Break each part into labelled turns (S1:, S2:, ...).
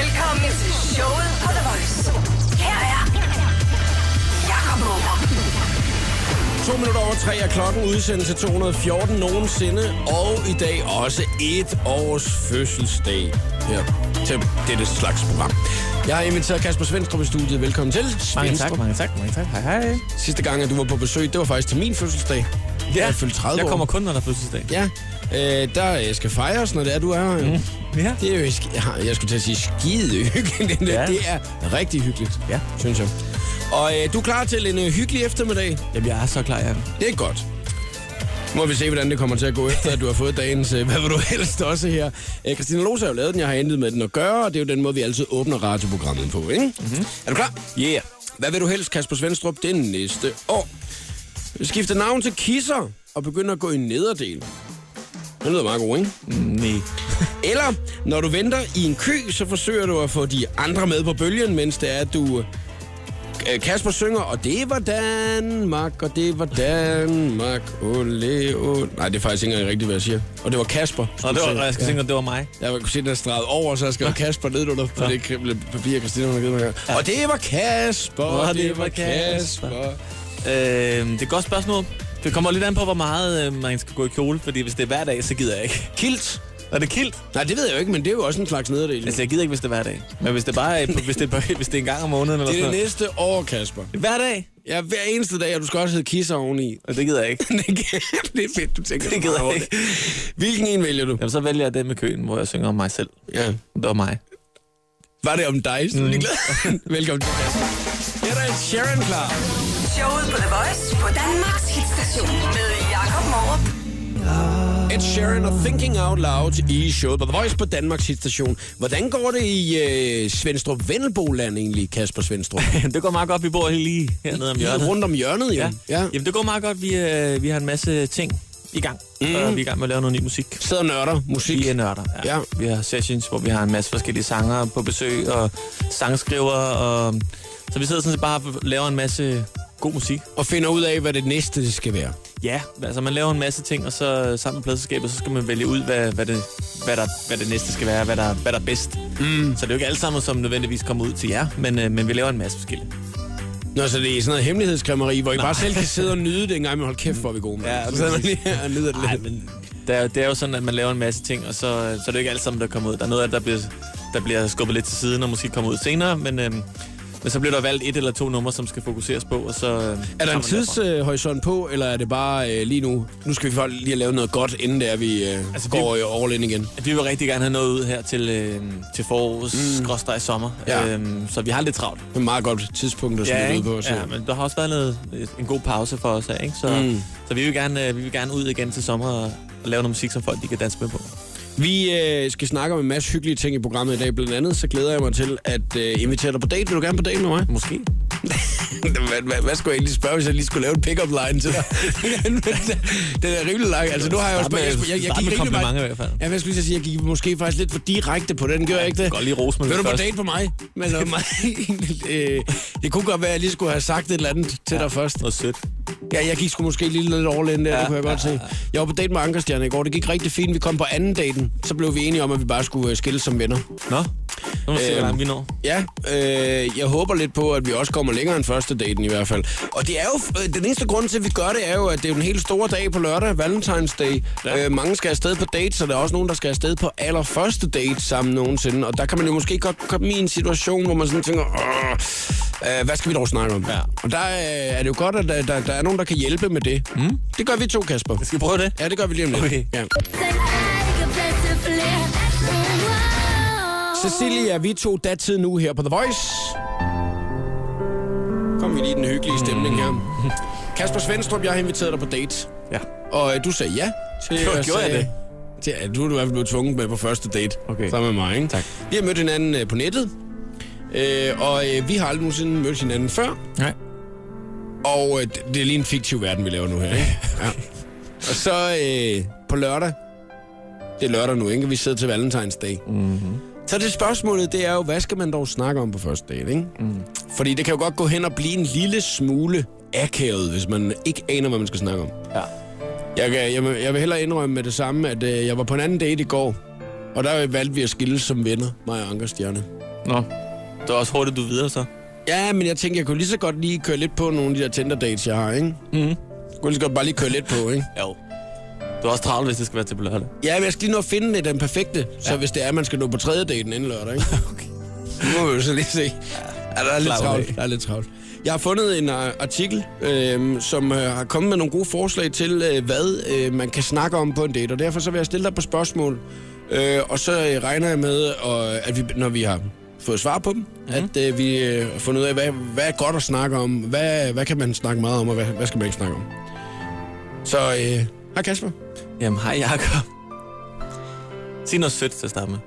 S1: Velkommen til showet på The Voice. Her er Jakob Morup.
S2: To minutter over tre er klokken, udsendelse 214 nogensinde, og i dag også et års fødselsdag her til dette slags program. Jeg har inviteret Kasper Svendstrup i studiet. Velkommen til.
S3: Mange tak,
S2: Svendstrup.
S3: mange tak, mange tak. Hej, hej.
S2: Sidste gang, at du var på besøg, det var faktisk til min fødselsdag. Ja, jeg fyldte 30
S3: jeg kommer
S2: år.
S3: kun, når der er fødselsdag.
S2: Ja, øh, der øh, skal fejres, når det er, du er her.
S3: Mhm.
S2: Mm.
S3: Ja.
S2: Det er jo, sk- ja, jeg skulle til at sige, skide hyggeligt. Ja.
S3: Ja.
S2: Det er rigtig hyggeligt,
S3: Ja.
S2: synes jeg. Og øh, du er klar til en øh, hyggelig eftermiddag?
S3: Jamen, jeg er så klar, Jan.
S2: Det er godt. Må vi se, hvordan det kommer til at gå efter, at du har fået dagens, øh, hvad vil du helst også her. Øh, Christina Lose har jo lavet den, jeg har intet med den at gøre, og det er jo den måde, vi altid åbner radioprogrammet på, ikke? Mm-hmm. Er du klar?
S3: Yeah.
S2: Hvad vil du helst, Kasper Svendstrup, det næste år? Skifte navn til Kisser og begynde at gå i nederdel. Det lyder meget godt, ikke?
S3: Mm, Nej.
S2: Eller, når du venter i en kø, så forsøger du at få de andre med på bølgen, mens det er, at du... øh, Kasper synger, og det var Danmark, og det var Danmark, ole, ole. Nej, det er faktisk ikke engang rigtigt, hvad jeg siger. Og det var Kasper.
S3: Nå, det var, jeg skal synge, at det var mig.
S2: Jeg kunne se, den er streget over, så jeg skrev Kasper ned under på det krible papir, Christina hun har givet mig her. Og det var Kasper, og det var Kasper.
S3: Øh, det er et godt spørgsmål. Det kommer lidt an på, hvor meget øh, man skal gå i kjole, fordi hvis det er hver dag, så gider jeg ikke.
S2: Kilt.
S3: Er det kilt?
S2: Nej, det ved jeg jo ikke, men det er jo også en slags nederdel.
S3: Altså, jeg gider ikke, hvis det er hver dag. Men hvis det bare er, på, hvis det er, hvis det er en gang om måneden eller
S2: Det er
S3: sådan
S2: det
S3: noget.
S2: næste år, Kasper.
S3: Hver dag?
S2: Ja, hver eneste dag, og du skal også hedde Kisser oveni.
S3: Og det gider jeg ikke.
S2: det er fedt, du tænker
S3: Det gider
S2: så meget over
S3: jeg ikke.
S2: det. Hvilken en vælger du?
S3: Jamen, så vælger jeg den med køen, hvor jeg synger om mig selv.
S2: Ja.
S3: Det var mig.
S2: Var det om dig, så mm. Velkommen til Kasper. Her er Sharon klar.
S1: Showet på The Voice på Danmarks hitstation med Jakob Morup.
S2: Ed Sharon og Thinking Out Loud i showet på The Voice på Danmarks hitstation. Hvordan går det i øh, Svendstrup Vennelboland egentlig, Kasper Svendstrup?
S3: det går meget godt, vi bor lige hernede om hjørnet.
S2: Rundt om hjørnet, ja.
S3: Ja. ja. Jamen, det går meget godt. Vi, øh, vi har en masse ting i gang, mm. og vi er i gang med at lave noget ny musik.
S2: Sidder og nørder musik.
S3: Vi er nørder. Ja.
S2: Ja.
S3: ja. Vi har sessions, hvor vi har en masse forskellige sanger på besøg, og sangskriver, og... Så vi sidder sådan set bare og laver en masse god musik.
S2: Og finder ud af, hvad det næste skal være.
S3: Ja, altså man laver en masse ting, og så sammen med pladselskabet, så skal man vælge ud, hvad, hvad, det, hvad, der, hvad det næste skal være, hvad der, hvad der er bedst. Mm. Så det er jo ikke alle sammen, som nødvendigvis kommer ud til jer, men, øh, men vi laver en masse forskellige.
S2: Nå, så det er sådan noget hemmelighedskræmmeri, hvor I bare selv kan sidde og nyde det en gang, men hold kæft, hvor er vi gode. mand.
S3: Ja,
S2: så sidder man lige her og nyder det lidt.
S3: Nej, men det er, jo- det er jo sådan, at man laver en masse ting, og så, øh, så er det jo ikke alt sammen, der kommer ud. Der er noget af det, der bliver, der bliver skubbet lidt til siden, og måske kommer ud senere, men, øhm, men så bliver der valgt et eller to numre, som skal fokuseres på, og så... øhm,
S2: Er der
S3: tager
S2: en
S3: man derfra.
S2: tidshorisont på, eller er det bare øh, lige nu? Nu skal vi folk lige have lavet noget godt, inden det er, vi øh, altså,
S3: Altså,
S2: går øh, all in igen.
S3: At Vi vil rigtig gerne have noget ud her til, øhm, til forårs mm. sommer,
S2: Ja.
S3: øhm, så vi har lidt travlt.
S2: Det er et meget godt tidspunkt at smide ja, ud på. Så.
S3: ja, men der har også været noget, en god pause for os, her, ikke? Så,
S2: Mm.
S3: mm. så vi, vil gerne, øh, vi vil gerne ud igen til sommer og, og lave noget musik, som folk de kan danse med på.
S2: Vi øh, skal snakke om en masse hyggelige ting i programmet i dag. Blandt andet så glæder jeg mig til at øh, invitere dig på date. Vil du gerne på date med mig?
S3: Måske.
S2: hvad, hvad, hvad skulle jeg egentlig spørge, hvis jeg lige skulle lave en pick-up line til dig? Den er rimelig lang. Altså, nu har jeg jo
S3: Start med-
S2: spørget. Jeg, jeg, jeg
S3: start
S2: gik rimelig
S3: med komplimenter
S2: meget-
S3: i hvert fald.
S2: Ja, men jeg skulle lige til at sige, jeg gik måske faktisk lidt for direkte på den. Gør jeg ikke det?
S3: Godt lige rose mig
S2: Vil du
S3: lidt
S2: på
S3: først.
S2: date på mig? Men øh, mig øh, det kunne godt være, at jeg lige skulle have sagt et eller andet til dig først.
S3: Noget sødt.
S2: Ja, jeg gik sgu måske lige lidt all in der, ja, det kunne jeg godt ja, se. Jeg var på date med Ankerstjerne i går, det gik rigtig fint. Vi kom på anden daten, så blev vi enige om, at vi bare skulle øh, skilles som venner.
S3: Nå, nu må vi se,
S2: Øhm.
S3: hvor langt vi når.
S2: Ja, øh, jeg håber lidt på, at vi også kommer længere end første daten i hvert fald. Og det er jo, øh, den eneste grund til, at vi gør det, er jo, at det er jo en helt stor dag på lørdag, Valentine's Day. Ja.
S3: Ja.
S2: Øh, mange skal afsted på dates, og der er også nogen, der skal afsted på allerførste date sammen nogensinde. Og der kan man jo måske godt komme i en situation, hvor man sådan tænker, "Åh, øh, hvad skal vi dog snakke om?
S3: Ja.
S2: Og der øh, er det jo godt, at der, der, der er nogen, der kan hjælpe med det. Mm. Det gør vi to, Kasper.
S3: Skal vi prøve det?
S2: Ja, det gør vi lige om lidt.
S3: Okay.
S2: Ja.
S4: Sen ayrı gözü flört.
S2: Cecilia, vi to datid nu her på The Voice. Kom vi lige i den hyggelige stemning her. Kasper Svendstrup, jeg har inviteret dig på date.
S3: Ja.
S2: Og øh, du sagde ja til...
S3: Gjorde-
S2: at
S3: gjorde jeg
S2: sige- Til, ja, du er du i hvert fald blevet tvunget med på første date.
S3: Okay.
S2: Sammen med mig, ikke?
S3: Tak.
S2: Vi har mødt hinanden øh, på nettet. Øh, og øh, vi har aldrig nogensinde mødt hinanden før.
S3: Nej.
S2: Og øh, det- det er lige en fiktiv verden, vi laver nu her, ikke? Ja. Og så øh, på lørdag, det er lørdag nu, ikke? Vi sidder til Valentine's Day. Mm-hmm. Så det spørgsmålet, det er jo, hvad skal man dog snakke om på første date, ikke? Mm. Fordi det kan jo godt gå hen og blive en lille smule akavet, hvis man ikke aner, hvad man skal snakke om.
S3: Ja.
S2: Jeg, kan, jeg, vil- jeg vil hellere indrømme med det samme, at øh, jeg var på en anden date i går, og der valgte vi at skille som venner, mig og Anker Stjerne.
S3: Nå. Det var også hurtigt, du er videre så.
S2: Ja, men jeg tænkte, jeg kunne lige så godt lige køre lidt på nogle af de der Tinder-dates, jeg har, ikke? Mm. Jeg kunne lige så godt bare lige køre lidt på, ikke?
S3: Jo. Du er også travlt, hvis det skal være til på lørdag.
S2: Ja, men jeg skal lige nå at finde øh, den perfekte, så
S3: Ja.
S2: hvis det er, at man skal nå på tredje daten inden lørdag, ikke?
S3: Okay.
S2: Nu må vi jo så lige se. Ja, der er lidt
S3: Slap af.
S2: travlt. Der er lidt travlt. Jeg har fundet en øh, artikel, øh, som øh, har kommet med nogle gode forslag til, øh, hvad øh, man kan snakke om på en date, og derfor så vil jeg stille dig på spørgsmål, øh, og så øh, regner jeg med, og, at vi, når vi har fået svar på dem, mm.
S3: Mhm.
S2: at øh, vi øh, har fundet ud af, hvad, hvad er godt at snakke om, hvad, hvad kan man snakke meget om, og hvad, hvad skal man ikke snakke om. Så øh, hej Kasper.
S3: Jamen, hej Jacob. Sig noget sødt til at starte med.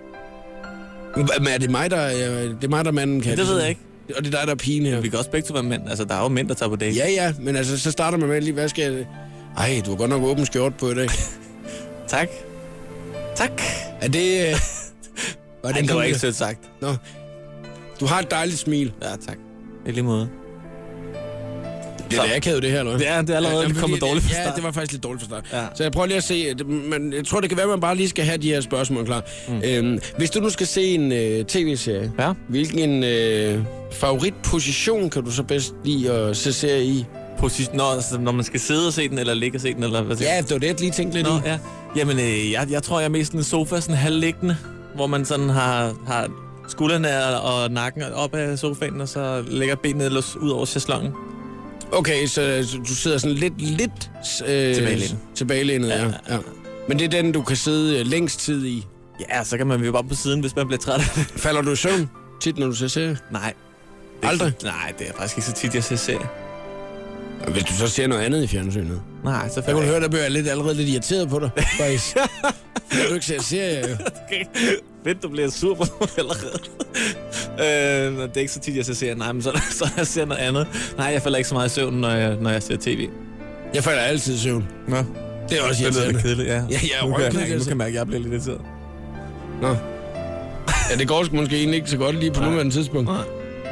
S2: Hva- Men er det mig, der, øh, det er mig, der er manden kan? ligesom-
S3: Det ved jeg ikke.
S2: Og det er dig, der er pigen her.
S3: Vi kan også begge to være mænd. Altså, der er jo mænd, der tager på date.
S2: Ja, ja, men altså, så starter man med lige, hvad skal jeg... Ej, du har godt nok åben skjort på i dag.
S3: Tak. Tak.
S2: Er det... øh, Var
S3: Ej, det var
S2: en
S3: ikke
S2: lille-
S3: sødt sagt.
S2: Nå. Du har et dejligt smil.
S3: Ja, tak. I lige måde.
S2: Det er
S3: Så.
S2: da akavet, det her, eller hvad?
S3: Ja, det er allerede
S2: Jamen,
S3: ja, kommet
S2: fordi-
S3: dårligt fra
S2: Ja,
S3: start.
S2: det var faktisk lidt dårligt for start. Ja.
S3: Ja.
S2: Så jeg prøver lige at se... det- Men jeg tror, det kan være, at man bare lige skal have de her spørgsmål klar. Mm. Øhm, hvis du nu skal se en øh, tv-serie,
S3: Ja.
S2: hvilken øh, favoritposition kan du så bedst lide at se serie i?
S3: Position, når, altså, når man skal sidde og se den, eller ligge og se den, eller hvad siger
S2: Ja, det var det, jeg lige tænkte lidt
S3: du?
S2: i.
S3: Nå, ja. Jamen, øh, jeg, jeg tror, jeg er mest sådan en sofa, sådan halvliggende, hvor man sådan har, har skuldrene og nakken op af sofaen, og så lægger benene ellers ud over chaiselongen.
S2: Okay, så, så du sidder sådan lidt, lidt øh,
S3: Tilbagelænet.
S2: tilbagelænet ja,
S3: Ja,
S2: ja. ja. Men det er den, du kan sidde øh, længst tid i.
S3: Ja, så kan man jo bare på siden, hvis man bliver træt.
S2: Falder du i søvn tit, når du ser serier?
S3: Nej. Det er
S2: Aldrig?
S3: Ikke, så- nej, det er faktisk ikke så tit, jeg ser serier.
S2: Og Hvis du så ser noget andet i fjernsynet.
S3: Nej, så
S2: Jeg
S3: falder
S2: kunne
S3: jeg
S2: høre, der bliver jeg lidt, allerede lidt irriteret på dig, faktisk. Når du ikke ser serier, jo.
S3: ikke. Fedt, du bliver sur på mig allerede. øh, nå, det er ikke så tit, jeg ser serier. Nej, men så, så jeg ser noget andet. Nej, jeg falder ikke så meget i søvn, når jeg, når jeg ser tv.
S2: Jeg falder altid i søvn.
S3: Nå,
S2: Det er også
S3: det lyder lidt
S2: irriterende.
S3: kedeligt, ja. altså.
S2: Ja, jeg er
S3: nu kan jeg, mærke,
S2: røvkedelig.
S3: nu kan jeg mærke, at jeg bliver lidt irriteret.
S2: Nå. Ja, det går sgu måske egentlig ikke så godt lige på
S3: Nej.
S2: nuværende tidspunkt.
S3: Nej.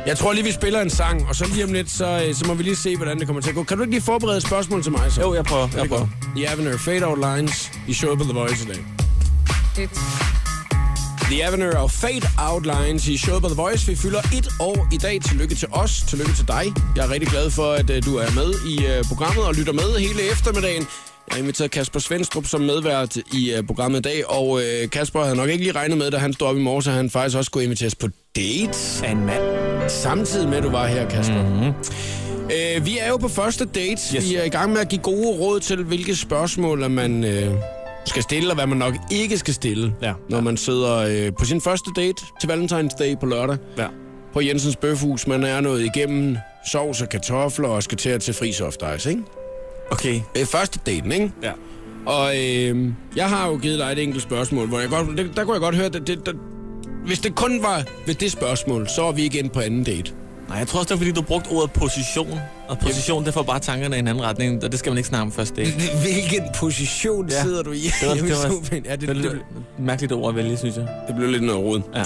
S2: Jeg tror lige, vi spiller en sang, og så lige om lidt, så, øh, så må vi lige se, hvordan det kommer til at gå. Kan du ikke lige forberede et spørgsmål til mig, så?
S3: Jo, jeg prøver. Jeg prøver.
S2: The Avenue Fade Out Lines i showet på The Voice i dag. The Avenue og Fade Out Lines i showet på The Voice. Vi fylder et år i dag. Tillykke til os. Tillykke til dig. Jeg er rigtig glad for, at øh, du er med i øh, programmet og lytter med hele eftermiddagen. Jeg har inviteret Kasper Svendstrup som medvært i øh, programmet i dag, og øh, Kasper havde nok ikke lige regnet med, da han stod op i morges, at han faktisk også skulle inviteres på date.
S3: En mand.
S2: Samtidig med, at du var her, Kasper. Mm-hmm. Øh, vi er jo på første date. Yes.
S3: Mhm. Yes.
S2: Vi er i gang med at give gode råd til, hvilke spørgsmål at man øh, skal stille, og hvad man nok ikke skal stille,
S3: Ja.
S2: når man sidder øh, på sin første date til Valentine's Day på lørdag
S3: Ja.
S2: på Jensens Bøfhus. Man er nået igennem sovs og kartofler og skal til at til fri soft ice, ikke?
S3: Okay.
S2: Det er første daten, ikke?
S3: Ja.
S2: Og øh, jeg har jo givet dig et enkelt spørgsmål, hvor jeg godt, det, der kunne jeg godt høre, det, det, der, hvis det kun var ved det spørgsmål, så er vi igen på anden date.
S3: Nej, jeg tror også, det er, fordi du brugte ordet position. Og position, det får bare tankerne i en anden retning, og det skal man ikke snakke om først. Det, det,
S2: Hvilken position
S3: Ja.
S2: sidder du i?
S3: det, var,
S2: Jeg
S3: det,
S2: vil
S3: var,
S2: så finde- ja, det, det,
S3: det,
S2: det,
S3: det, mærkeligt ord at vælge, synes jeg.
S2: det blev lidt noget rod.
S3: Ja.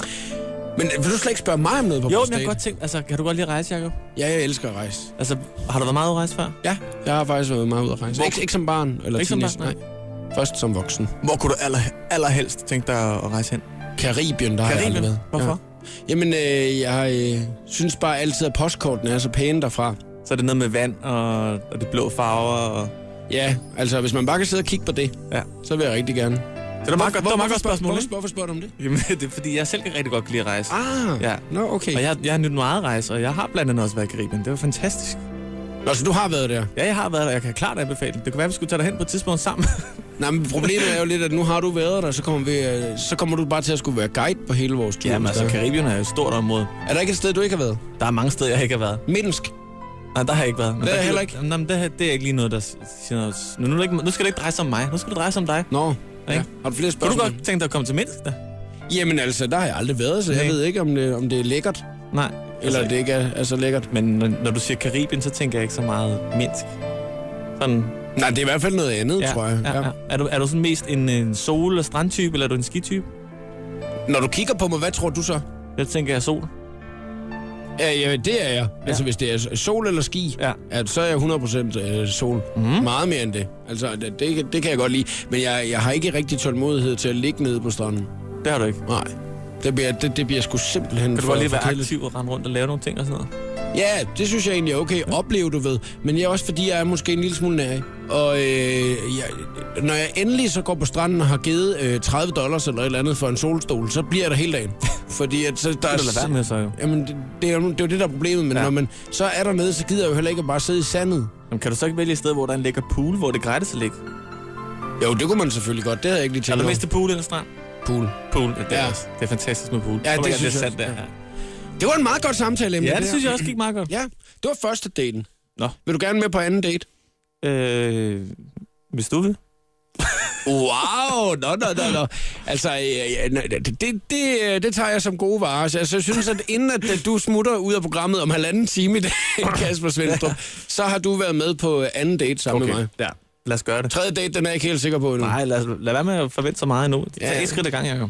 S2: Men øh, vil du slet ikke spørge mig om noget på
S3: Jo,
S2: vores
S3: men jeg
S2: date?
S3: har godt tænkt, altså, kan du godt lide at rejse, Jacob?
S2: Ja, jeg elsker at rejse.
S3: Altså, har du været meget ude at rejse før?
S2: Ja, jeg har faktisk været meget ude at rejse.
S3: Hvor-
S2: Ikke, ikke som barn eller
S3: Ikke som
S2: teenage,
S3: barn, nej.
S2: nej. Først som voksen.
S3: Hvor kunne du aller, allerhelst tænke dig at rejse hen?
S2: Karibien, der har jeg aldrig
S3: Karibien?
S2: været.
S3: Hvorfor?
S2: Ja. Jamen, øh, jeg øh, synes bare altid, at postkortene er så pæne derfra.
S3: Så er det noget med vand og, og de blå farver. Og...
S2: Ja, altså, hvis man bare kan sidde og kigge på det,
S3: Ja.
S2: så vil jeg rigtig gerne.
S3: Det var meget godt, det var meget godt spørgsmål,
S2: Hvorfor,
S3: ikke?
S2: hvorfor spørger du om det?
S3: Jamen, det er fordi, jeg selv kan rigtig godt lide at rejse.
S2: Ah,
S3: Ja.
S2: nå, okay.
S3: Og jeg, jeg har nydt meget at rejse, og jeg har blandt andet også været i Karibien. Det var fantastisk.
S2: Nå, så du har været der?
S3: Ja, jeg har været der, og jeg kan klart anbefale det. Det kunne være, vi skulle tage dig hen på et tidspunkt sammen.
S2: Nej, men problemet er jo lidt, at nu har du været der, så kommer, vi, øh, så kommer du bare til at skulle være guide på hele vores tur.
S3: Jamen, altså,
S2: okay.
S3: Karibien er jo et stort område.
S2: Er der ikke et sted, du ikke har været?
S3: Der er mange steder, jeg ikke har været.
S2: Minsk.
S3: Nej, der har jeg ikke været. Men
S2: Det er
S3: der
S2: jeg
S3: kan
S2: heller
S3: du-
S2: ikke.
S3: Jamen, jamen, det, her- det er ikke lige noget, der s- siger noget. Nu, nu, er det ikke, nu skal det ikke dreje sig om mig. Nu skal det dreje sig om dig.
S2: Nå, ja.
S3: Ikke?
S2: Har du flere
S3: Kunne du
S2: spørgsmål?
S3: godt tænke dig at komme til Minsk, da?
S2: Jamen altså, der har jeg aldrig været, så jeg
S3: Nej.
S2: ved ikke, om det, om det er lækkert,
S3: Nej.
S2: eller
S3: Altså,
S2: det ikke er, er så lækkert.
S3: Men når, når du siger Karibien, så tænker jeg ikke så meget Minsk. Sådan,
S2: Nej, det er i hvert fald noget andet, tror jeg.
S3: ja, ja. Er, du, er du sådan mest en, en sol- og strandtype, eller er du en skitype?
S2: Når du kigger på mig, hvad tror du så?
S3: Jeg tænker, jeg er sol.
S2: Ja, ja det er jeg. Altså, hvis det er sol eller ski,
S3: Ja. Mhm.
S2: at, så er jeg 100% øh, sol. Mm. Meget mere end det. Altså, det, det, det kan jeg godt lide. Men jeg, jeg har ikke rigtig tålmodighed til at ligge nede på stranden.
S3: Det har du ikke.
S2: Nej. Det bliver, det, det bliver sgu simpelthen
S3: Kan du
S2: for-
S3: bare lige
S2: for
S3: være
S2: kedeligt.
S3: aktiv og rende rundt og lave nogle ting og sådan noget?
S2: Ja, det synes jeg egentlig er okay. Opleve, du ved. Men jeg er også, fordi jeg er måske en lille smule nærig. Og øh, jeg, når jeg endelig så går på stranden og har givet øh, 30 dollars eller et eller andet for en solstol, så bliver jeg der hele dagen. Fordi at, så, der
S3: Det er da være med så jo.
S2: Jamen, det, det, er, jo- det er jo det, der er problemet. Men ja.
S3: Ja.
S2: når man så er dernede, så gider jeg jo heller ikke at bare sidde i sandet.
S3: Jamen, kan du så ikke vælge et sted, hvor der er en lækker pool, hvor det er gratis at ligge?
S2: Jo, det kunne man selvfølgelig godt. Det havde jeg ikke lige
S3: Er
S2: tænkt
S3: du
S2: over.
S3: mest til pool eller strand?
S2: Pool.
S3: Pool, ja, det, er,
S2: Ja.
S3: også- det er fantastisk med pool.
S2: Ja,
S3: Kom
S2: det
S3: igen,
S2: synes jeg
S3: sandt,
S2: også.
S3: det her.
S2: Det var en meget godt samtale,
S3: Ja, det synes jeg også gik meget godt.
S2: Ja, det var første daten.
S3: Nå.
S2: Vil du gerne med på anden date?
S3: Øh, hvis du vil.
S2: Wow, nå, nå, nå, nå. Altså, øh, ja, nej, det, det, det, øh, det tager jeg som gode varer. Så altså, jeg synes, at inden at øh, du smutter ud af programmet om halvanden time i dag, Kasper Svendstrup, så har du været med på øh, anden date sammen okay. med mig.
S3: ja. Lad os gøre det.
S2: Tredje date, den er jeg ikke helt sikker på endnu.
S3: Nej, lad, os- lad være med at forvente så meget endnu.
S2: Ja.
S3: Ja. Tag et skridt ad gang, Jacob.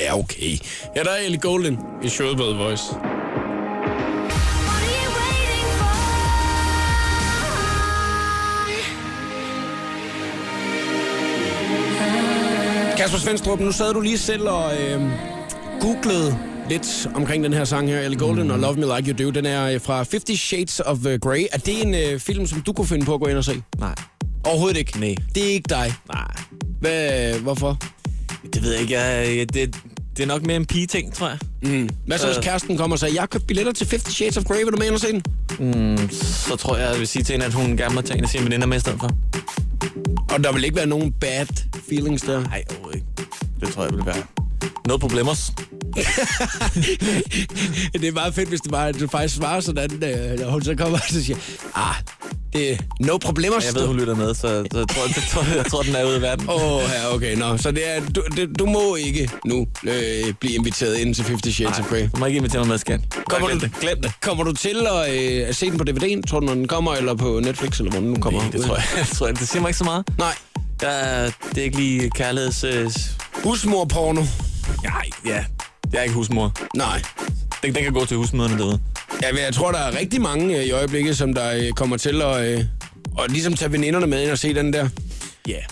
S2: Ja, okay. Ja, der er Ellie Golden i showet på The Voice.
S4: What are you waiting for?
S2: Kasper Svendstrup, nu sad du lige selv og øh, googlede lidt omkring den her sang her, Ellie Golden mm. og Love Me Like You Do. Den er øh, fra 50 Shades of øh, Grey. Er det en øh, film, som du kunne finde på at gå ind og se?
S3: Nej.
S2: Overhovedet ikke.
S3: Nej.
S2: Det er ikke dig.
S3: Nej.
S2: Hvad, hvorfor?
S3: Det ved jeg ikke. Jeg, jeg, det, det er nok mere en pige-ting, tror jeg.
S2: Hvad så, hvis
S3: Øh.
S2: kæresten kommer og siger, jeg har købt billetter til 50 Shades of Grey, vil du med ind og se den?
S3: Så tror jeg, jeg vil sige til hende, at hun gerne må tage en af sine veninder med i stedet for.
S2: Og der vil ikke være nogen bad feelings der.
S3: Nej, overhovedet ikke. Det tror jeg vil være. Noget problemer.
S2: Det er meget fedt, hvis det, bare, du faktisk svarer sådan, øh, og hun så kommer og så siger, ah, det er no problemer.
S3: Jeg ved, hun lytter med, så, så jeg, tror, jeg, tror, jeg tror, den er ude i verden.
S2: Åh, oh, ja, okay, nå. Så det er, du, det, du må ikke nu øh, blive inviteret ind til 50 Shades of Grey.
S3: Du må ikke invitere mig med, skat.
S2: Kommer
S3: Glem
S2: du,
S3: det. Glem det.
S2: kommer du til at, øh, at se den på DVD'en, tror du, når den kommer, eller på Netflix, eller hvor den nu kommer?
S3: Nej, det tror jeg. jeg tror, jeg- det siger mig ikke så meget.
S2: Nej.
S3: Jeg, er- det er ikke lige kærligheds... Øh, s-
S2: Husmorporno?
S3: nej, ja. Jeg er ikke husmor.
S2: Nej.
S3: Den, den kan gå til husmøderne derude.
S2: Ja, men jeg tror, der er rigtig mange øh, i øjeblikket, som der øh, kommer til at, øh, at ligesom tage veninderne med ind og se den der.
S3: Ja. Yeah.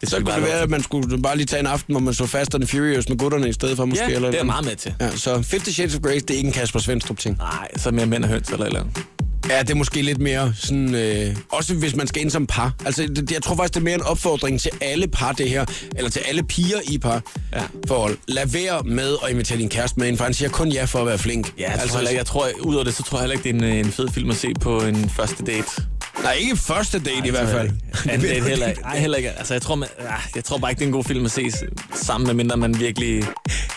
S3: Det
S2: Så kunne det være, at man skulle bare lige tage en aften, hvor man så Fast and the Furious med gutterne i stedet for måske.
S3: Ja,
S2: eller
S3: det er jeg
S2: noget.
S3: meget med til.
S2: Ja, så 50 Shades of Grey, det er ikke en Kasper Svendstrup-ting.
S3: Nej, så mere mænd og høns eller et eller andet.
S2: Ja, det er måske lidt mere sådan... Øh, også hvis man skal ind som par. Altså, det, jeg tror faktisk, det er mere en opfordring til alle par, det her. Eller til alle piger i par.
S3: Ja.
S2: Forhold. Lad være med at invitere din kæreste med ind, for han siger kun ja for at være flink.
S3: Ja, altså, tror, jeg, jeg tror, ud over det, så tror jeg heller ikke, det er en, en fed film at se på en første date. Altså,
S2: Nej, ikke første date i hvert fald.
S3: Anden date heller ikke. Ej, heller ikke. Altså, jeg tror, man, ah, jeg tror bare ikke, det er en god film at se s- sammen, medmindre man virkelig...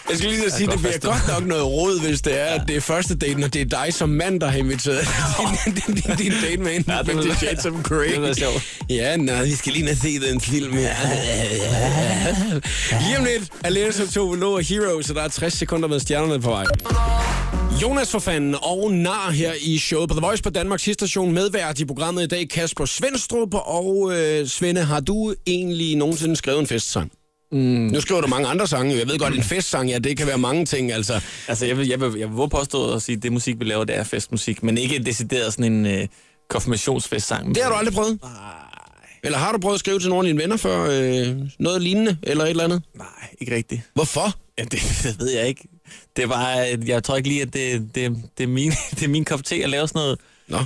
S2: Jeg skal lige til at sige,
S3: kan
S2: det
S3: godt
S2: bliver godt
S3: forstå.
S2: nok noget råd, hvis det er, at det er første daten, og det er dig som mand, der har inviteret din, din, din, din date med ind.
S3: Ja, det ville
S2: Fifty
S3: være-
S2: Shades of
S3: det ville
S2: Grey.
S3: være sjovt.
S2: Ja, nej, vi skal lige ned og se den film her. Lige om lidt er Lena Sotopolo og Hero, så der er 60 sekunder med stjernerne på vej. Jonas for fanden og Nar her i showet på The Voice på Danmarks station medvært i programmet i dag, Kasper Svendstrup. Og øh, Svende, har du egentlig nogensinde skrevet en festsang? Mm. Nu skriver du mange andre sange. jo. Jeg ved godt, en festsang, ja, det kan være mange ting. Altså,
S3: Altså, jeg vil, jeg vil, jeg vil våge påstå at sige, at det musik, vi laver, det er festmusik, men ikke decideret sådan en øh, konfirmationsfestsang.
S2: det har du aldrig prøvet? Nej. Eller har du prøvet at skrive til nogle af dine venner før? Øh, noget lignende, eller et eller andet?
S3: Nej, ikke rigtigt.
S2: Hvorfor?
S3: Ja, det, det ved jeg ikke. Det var, øh, jeg tror ikke lige, at det, det, det, er, min, det er min kop te at lave sådan noget.
S2: Nå.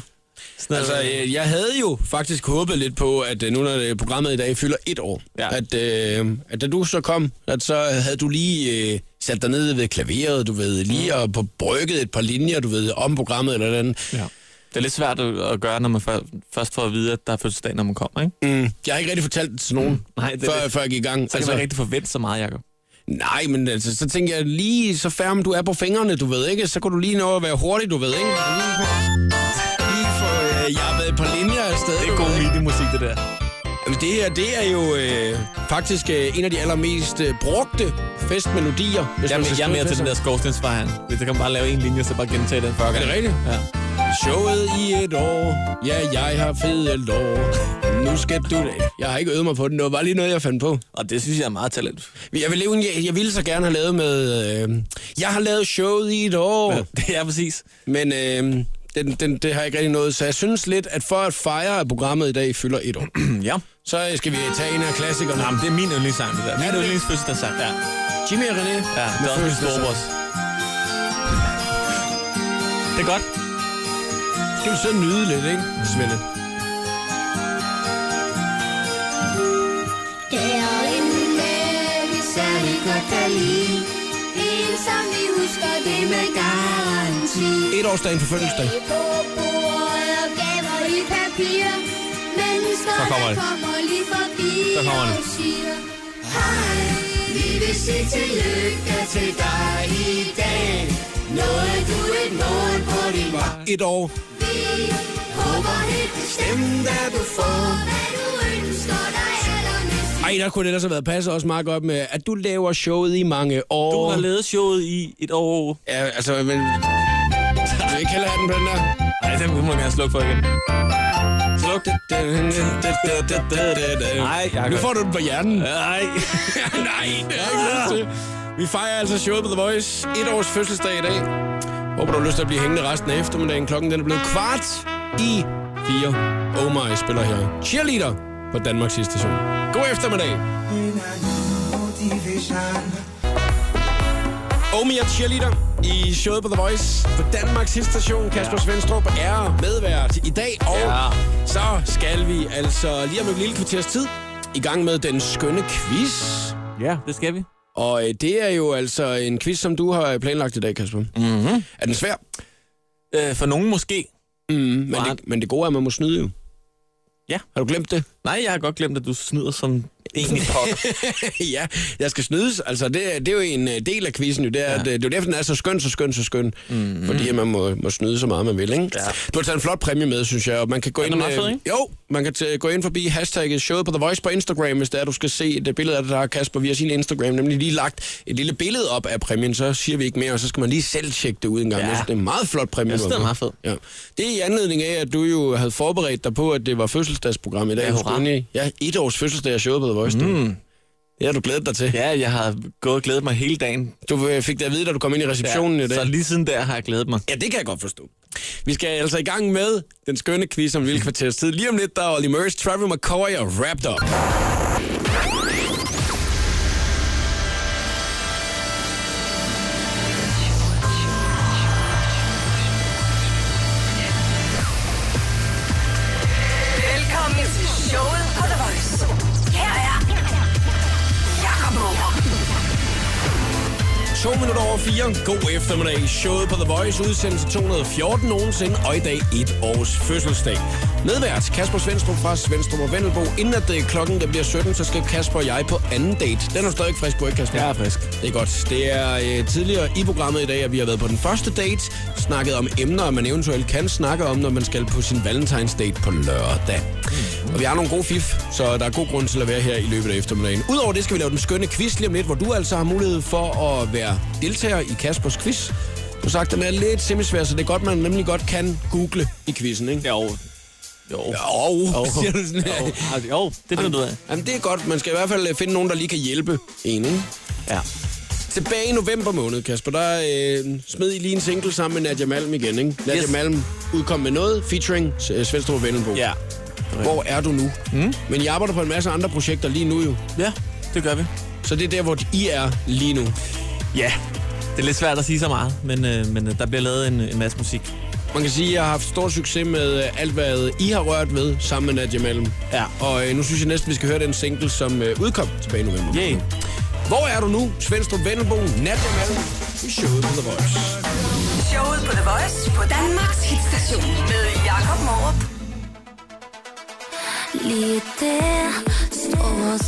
S3: Sådan
S2: Altså,
S3: noget.
S2: øh, jeg havde jo faktisk håbet lidt på, at øh, nu når øh, programmet i dag fylder et år, ja.
S3: Ja.
S2: at, øh, at da du så kom, at så havde du lige øh, sat dig ned ved klaveret, du ved, lige
S3: Mm.
S2: og på brygget et par linjer, du ved, om programmet eller noget andet.
S3: Ja. Det er lidt svært at at gøre, når man før- først får at vide, at der er fødselsdag, når man kommer, ikke?
S2: Mm. Jeg har ikke rigtig fortalt det til nogen, mm.
S3: Nej, det er
S2: før,
S3: det.
S2: før jeg gik i gang. Altså,
S3: Så kan man rigtig forvente så meget, Jacob.
S2: Nej, men altså, så tænkte jeg lige, så færre du er på fingrene, du ved ikke, så kunne du lige nå at være hurtig, du ved ikke. Lige for, øh, jeg har været et par linjer afsted.
S3: Mm. Det
S2: du
S3: er god
S2: ved, ikke?
S3: minimusik, det der.
S2: Jamen, det her, det er jo øh, faktisk øh, en af de allermest øh, brugte festmelodier. Hvis
S3: Jeg,
S2: man skal
S3: jeg er
S2: skrive
S3: mere til
S2: fester.
S3: den der skorstensfejren. Det kan man bare lave en linje, så bare gentage den 40
S2: Er
S3: gange.
S2: det rigtigt?
S3: Ja.
S2: Showet i et år. Ja, jeg har fede lår. Nu skal du det. Jeg har ikke øvet mig på den. Det var bare lige noget, jeg fandt på.
S3: Og det synes jeg er meget talent.
S2: Jeg ville, jeg, jeg ville så gerne have lavet med... Øh, jeg har lavet showet i et år.
S3: Det er præcis.
S2: Men øh, den, den, det har ikke rigtig noget. Så jeg synes lidt, at for at fejre, at programmet i dag fylder et år,
S3: Ja.
S2: så skal vi tage en af klassikerne.
S3: Jamen, det er min yndlingssang, det der.
S2: Er
S3: Min
S2: det?
S3: yndlingsfødselsdagssang. Ja.
S2: Jimmy og René.
S3: Ja, det
S2: med
S3: er også min
S2: fødselsdag.
S3: storebrors. Det er godt.
S2: Skal vi så nyde lidt, ikke, Svende?
S4: Der er en dag, vi særlig godt kan lide. En, som vi husker det med garanti.
S2: Et årsdagen for fødselsdag.
S4: Dage på bordet og gaver i papir. Mennesker,
S3: Så kommer
S4: der
S3: det.
S4: kommer lige forbi
S3: Så kommer det.
S4: og siger, Hej, vi vil sige tillykke til dig i dag. Nåede du et mål på din vej?
S2: Et år.
S4: Vi håber helt bestemt, at du får, hvad du ønsker dig allermest.
S2: Ej, der kunne det ellers have været passet også meget godt med, at du laver showet i mange år.
S3: Du har lavet showet i et år.
S2: Ja, altså, men... Du vil ikke heller have den på den der?
S3: Nej, den må jeg gerne slukke for igen. Sluk det. Nej, Jacob.
S2: Nu får du den på hjernen.
S3: Nej.
S2: Nej, det har jeg ikke lyst til. Vi fejrer altså showet på The Voice. Et års fødselsdag i dag. Håber, du har lyst til at blive hængende resten af eftermiddagen. Klokken den er blevet kvart i fire. Oh my, spiller her. Cheerleader på Danmarks sidste station. God eftermiddag. Omi er cheerleader i showet på The Voice på Danmarks sidste station. Kasper Svendstrup er medvært i dag, og
S3: Ja.
S2: så skal vi altså lige om et lille kvarters tid i gang med den skønne quiz.
S3: Ja, det skal vi.
S2: Og øh, det er jo altså en quiz, som du har planlagt i dag, Kasper. Mm-hmm. Er den svær?
S3: Øh, for nogen måske.
S2: Mm, men,
S3: Nej.
S2: det, men det gode er, at man må snyde jo.
S3: Ja.
S2: Har du glemt det?
S3: Nej, jeg har godt glemt, at du snyder som egentlig pokker.
S2: ja, jeg skal snydes. Altså, det, det er jo en øh, del af quizzen jo. Det er, ja. at, øh, det er jo derfor, den er så skøn, så skøn, så skøn. Mm-hmm. Fordi at man må, må snyde så meget, man vil, ikke?
S3: Ja.
S2: Du har taget en flot præmie med, synes jeg. Og man kan gå ind,
S3: den meget fed,
S2: øh,
S3: ikke?
S2: Jo, man kan t- gå ind forbi hashtagget showet på The Voice på Instagram, hvis det er, du skal se det billede af det, der har Kasper via sin Instagram. Nemlig lige lagt et lille billede op af præmien, så siger vi ikke mere, og så skal man lige selv tjekke det ud en gang.
S3: Ja.
S2: Jeg synes, Det er en meget flot præmie.
S3: Jeg synes,
S2: du har
S3: det er
S2: med.
S3: meget
S2: Ja. Det er i anledning af, at du jo havde forberedt dig på, at det var fødselsdagsprogram i dag.
S3: Ja,
S2: Du skulle
S3: hurra.
S2: ind i- Ja, et års fødselsdag af showet på The Voice. Mm. Det har du glædet dig til.
S3: ja, jeg har gået og glædet mig hele dagen.
S2: Du øh, fik det at vide, da du kom ind i receptionen
S3: ja,
S2: i dag.
S3: Så lige siden der har jeg glædet mig.
S2: Ja, det kan jeg godt forstå. Vi skal altså i gang med den skønne quiz om vildt kvarters tid. Lige om lidt, der er Olly Murs, Travis McCoy og Wrapped Up.
S1: Velkommen til showet på The Voice. Her er Jakob Morup.
S2: To minutter over fire. God eftermiddag. Showet på The Voice udsendelse 214 nogensinde, og i dag et års fødselsdag. Medvært Kasper Svendstrup fra Svendstrup og Vendelbo. Inden at øh, klokken der bliver 17, så skal Kasper og jeg på anden date. Den er du stadig frisk på, ikke Kasper?
S3: Jeg er frisk.
S2: Det er godt. Det er øh, tidligere i programmet i dag, at vi har været på den første date, snakket om emner, man eventuelt kan snakke om, når man skal på sin valentines date på lørdag. Mm. Og vi har nogle gode fif, så der er god grund til at være her i løbet af eftermiddagen. Udover det skal vi lave den skønne quiz lige om lidt, hvor du altså har mulighed for at være deltager i Kaspers quiz. Du har sagt, den er lidt semisvær, så det er godt, man nemlig godt kan google i quizzen, ikke?
S3: Jo. Jo.
S2: Jo,
S3: Jo.
S2: siger du sådan
S3: Jo,
S2: her.
S3: Ej, altså, jo. det finder du ud af.
S2: Jamen, det er godt. Man skal i hvert fald øh, finde nogen, der lige kan hjælpe en, ikke?
S3: Ja.
S2: Tilbage i november måned, Kasper, der øh, smed I lige en single sammen med Nadia Malm igen, ikke? Nadia yes.
S3: Yes.
S2: Malm udkom med noget, featuring øh, Svendstrup og Vendelbo.
S3: Ja.
S2: Hvor er du nu?
S3: Hmm?
S2: Mm? Men jeg arbejder på en masse andre projekter lige nu jo.
S3: Ja, det gør vi.
S2: Så det er der, hvor I er lige nu.
S3: Ja. Det er lidt svært at sige så meget, men, øh, men øh, der bliver lavet en, en masse musik.
S2: Man kan sige, at jeg har haft stor succes med øh, alt, hvad I har rørt ved sammen med Nadia Malm.
S3: Ja.
S2: Og øh, nu synes jeg næsten, vi skal høre den single, som øh, udkom tilbage i november.
S3: Yay.
S2: Hvor er du nu? Svendstrup Vendelbo, Nadia Malm i showet på The Voice.
S1: Showet på The Voice på Danmarks hitstation med Jakob Morup.
S4: Lige der står os